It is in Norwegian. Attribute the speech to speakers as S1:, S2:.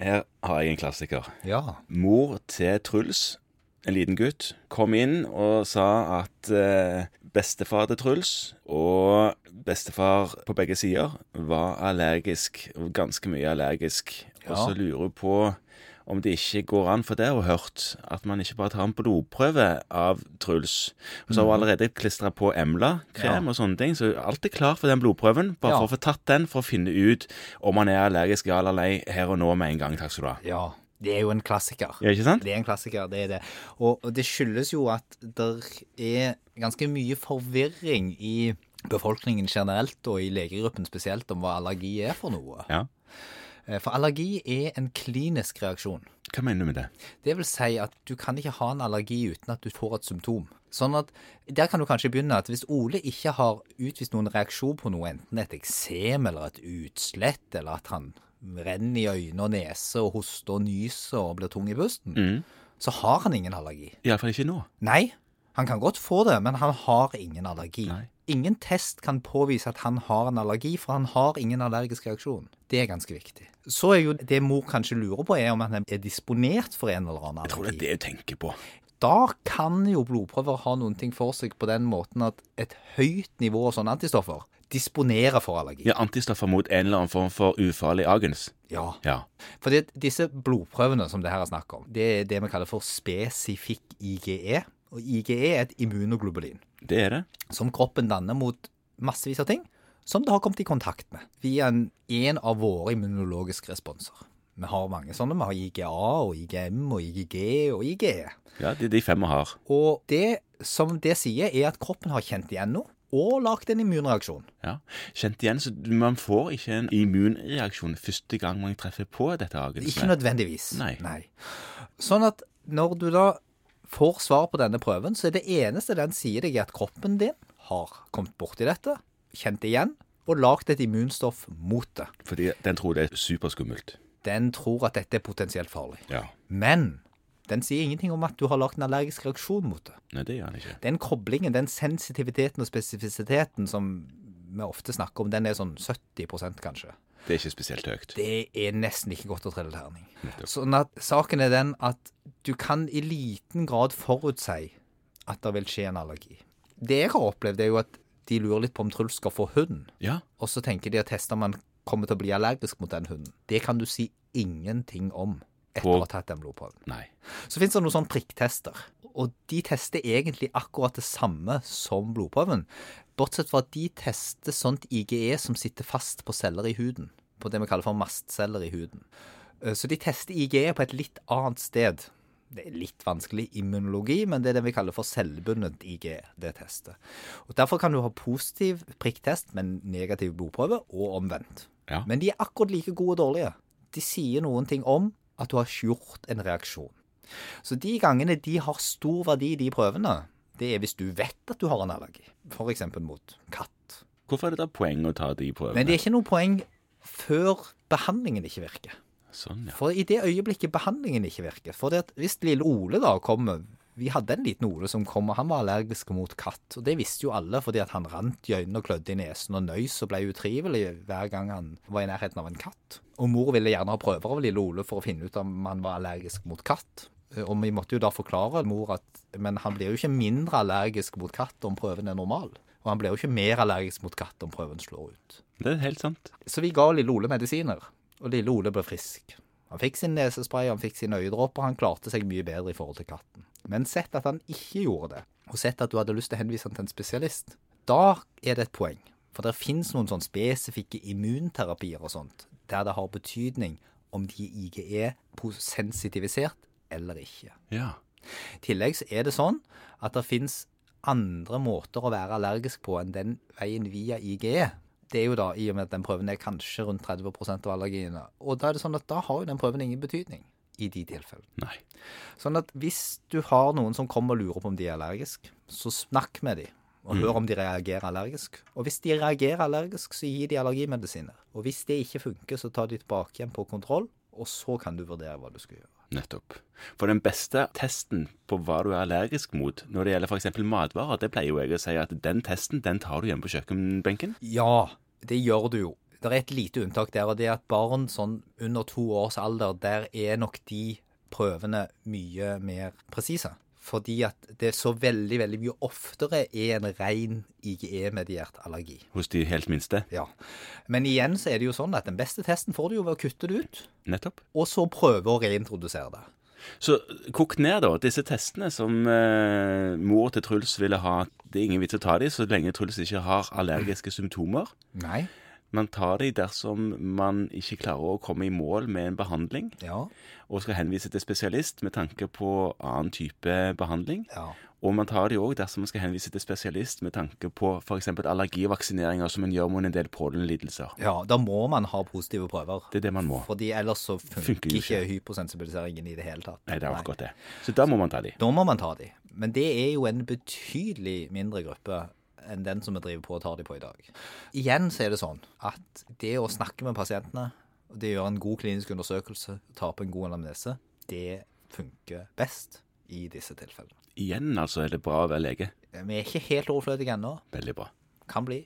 S1: Her har jeg en klassiker.
S2: Ja.
S1: Mor til Truls, en liten gutt, kom inn og sa at eh, bestefar til Truls og bestefar på begge sider var allergisk, ganske mye allergisk. Og
S2: Ja.
S1: så lurer hun på om det ikke går an, for det har hun hørt, at man ikke bare tar en blodprøve av Truls. Og så har hun allerede klistra på Emla-krem og sånne ting, så alt er klar for den blodprøven. Bare
S2: Ja.
S1: for å få tatt den, for å finne ut om man er allergisk ja eller nei her og nå med en gang. Takk skal du ha.
S2: ja. Det er jo en klassiker.
S1: Ja, ikke sant?
S2: Det er en klassiker, det er det. Og, og det skyldes jo at det er ganske mye forvirring i befolkningen generelt, og i legegruppen spesielt, om hva allergi er for noe.
S1: Ja.
S2: Eh, For allergi er en klinisk reaksjon.
S1: Hva mener du med det?
S2: Det vil si at du kan ikke ha en allergi uten at du får et symptom. Sånn at Der kan du kanskje begynne at hvis Ole ikke har utvist noen reaksjon på noe, enten et eksem eller et utslett, eller at han renner i øyne og nese og hoster og nyser og blir tung i pusten,
S1: Mm.
S2: så har han ingen allergi.
S1: Iallfall ikke nå.
S2: Nei, han kan godt få det, men han har ingen allergi.
S1: Nei.
S2: Ingen test kan påvise at han har en allergi, for han har ingen allergisk reaksjon. Det er ganske viktig. Så er jo det mor kanskje lurer på, er om han er disponert for en eller annen
S1: Jeg tror det er
S2: allergi.
S1: det du tenker på.
S2: Da kan jo blodprøver ha noen ting for seg på den måten at et høyt nivå av sånne antistoffer disponerer for allergi.
S1: Ja, Antistoffer mot en eller annen form for ufarlig agens.
S2: ja.
S1: Ja.
S2: For det, disse blodprøvene som det her er snakk om, det er det vi kaller for spesifikk IgE. Og IgE er et immunoglobulin.
S1: Det er det.
S2: som kroppen danner mot massevis av ting som det har kommet i kontakt med via en, en av våre immunologiske responser. Vi har mange sånne. Vi har IGA og IGM og IGG og E. IGE.
S1: Ja, Det er de fem vi har.
S2: Og det som det sier, er at kroppen har kjent igjen noe og lagd en immunreaksjon.
S1: Ja. Kjent igjen, så man får ikke en immunreaksjon første gang man treffer på dette
S2: Ikke
S1: agensmet.
S2: nødvendigvis.
S1: Nei.
S2: Sånn at når du da får svar på denne prøven, så er det eneste den sier deg, er at kroppen din har kommet borti dette, kjent igjen og lagd et immunstoff mot det.
S1: Fordi den tror det er superskummelt.
S2: den tror at dette er potensielt farlig.
S1: Ja.
S2: Men den sier ingenting om at du har lagt en allergisk reaksjon mot det.
S1: Nei, det gjør han ikke.
S2: Den koblingen, den sensitiviteten og spesifisiteten som vi ofte snakker om, den er sånn 70 kanskje.
S1: Det er ikke spesielt høyt.
S2: Det er nesten ikke godt å trille terning. Sånn at saken er den at du kan i liten grad forutsi at det vil skje en allergi. Det jeg har opplevd, er jo at de lurer litt på om Truls skal få hund.
S1: Ja.
S2: Og så tenker de å teste om han kommer til å bli allergisk mot den hunden. Det kan du si ingenting om etter
S1: På-
S2: å ha tatt den blodprøven.
S1: Nei.
S2: Så fins det noen sånne prikktester, og de tester egentlig akkurat det samme som blodprøven. Bortsett fra at de tester sånt IGE som sitter fast på celler i huden. På det vi kaller for mastceller i huden. Eh, Så de tester IGE på et litt annet sted. Det er litt vanskelig immunologi, men det er det vi kaller for selvbundet IGE, E, det testet. Og Derfor kan du ha positiv prikktest, men negativ blodprøve, og omvendt.
S1: Ja.
S2: Men de er akkurat like gode og dårlige. De sier noen ting om at du har gjort en reaksjon. Så de gangene de har stor verdi, de prøvene, det er hvis du vet at du har en allergi. F.eks. mot katt.
S1: Hvorfor er det da poeng å ta de prøvene?
S2: Men det er ikke noe poeng før behandlingen ikke virker.
S1: Sånn, ja.
S2: For i det øyeblikket behandlingen ikke virker For det at hvis lille Ole da kommer Vi hadde en liten Ole som kom, og han var allergisk mot katt. Og det visste jo alle, fordi at han rant i øynene og klødde i nesen og nøys og ble utrivelig hver gang han var i nærheten av en katt. Og mor ville gjerne ha prøver av lille Ole for å finne ut om han var allergisk mot katt. Og vi måtte jo da forklare mor at Men han blir jo ikke mindre allergisk mot katt om prøven er normal. Og han blir jo ikke mer allergisk mot katt om prøven slår ut.
S1: Det er helt sant.
S2: Så vi ga lille Ole medisiner, og lille Ole ble frisk. Han fikk sin nesespray, han fikk sine øyedråper, han klarte seg mye bedre i forhold til katten. Men sett at han ikke gjorde det, og sett at du hadde lyst til å henvise han til en spesialist, da er det et poeng. For det finnes noen sånn spesifikke immunterapier og sånt, der det har betydning om de er IGE-sensitivisert eller ikke.
S1: Ja.
S2: I tillegg så er det sånn at det finnes andre måter å være allergisk på enn den veien via IGE. Det er jo da, i og med at den prøven er kanskje rundt 30 av allergiene. Og da er det sånn at da har jo den prøven ingen betydning i de tilfellene.
S1: Nei.
S2: Sånn at hvis du har noen som kommer og lurer på om de er allergisk, så snakk med dem. Og hør om de reagerer allergisk. Og hvis de reagerer allergisk, så gir de allergimedisiner. Og hvis det ikke funker, så tar de tilbake igjen på kontroll, og så kan du vurdere hva du skal gjøre.
S1: Nettopp. For den beste testen på hva du er allergisk mot når det gjelder f.eks. matvarer, det pleier jo jeg å si at den testen den tar du hjemme på kjøkkenbenken.
S2: Ja, det gjør du jo. Det er et lite unntak der, og det er at barn sånn under to års alder, der er nok de prøvene mye mer presise. Fordi at det er så veldig, veldig mye oftere er en ren IGE-mediert allergi.
S1: hos de helt minste.
S2: Ja. Men igjen så er det jo sånn at den beste testen får du jo ved å kutte det ut,
S1: Nettopp.
S2: og så prøve å reintrodusere det.
S1: Så kokt ned, da. Disse testene som eh, mor til Truls ville ha Det er ingen vits å ta dem så lenge Truls ikke har allergiske symptomer.
S2: Nei.
S1: Man tar dem dersom man ikke klarer å komme i mål med en behandling,
S2: Ja.
S1: og skal henvise til spesialist med tanke på annen type behandling.
S2: Ja.
S1: Og man tar de òg dersom man skal henvise til spesialist med tanke på f.eks. allergivaksineringer, som en gjør mot en del pollenlidelser.
S2: ja. Da må man ha positive prøver.
S1: Det er det man må.
S2: Fordi ellers så funker,
S1: Funker jo
S2: ikke hypersensibiliseringen i det hele tatt.
S1: Nei, det er akkurat det. Så da må man ta de.
S2: Da må man ta de. Men det er jo en betydelig mindre gruppe enn den som vi driver på og tar de på i dag. Igjen så er det sånn at det å snakke med pasientene, og det å gjøre en god klinisk undersøkelse, ta på en god anamnese, det funker best i disse tilfellene.
S1: Igjen altså er det bra å være lege.
S2: Vi er ikke helt overflødige ennå.
S1: Veldig bra.
S2: Kan bli.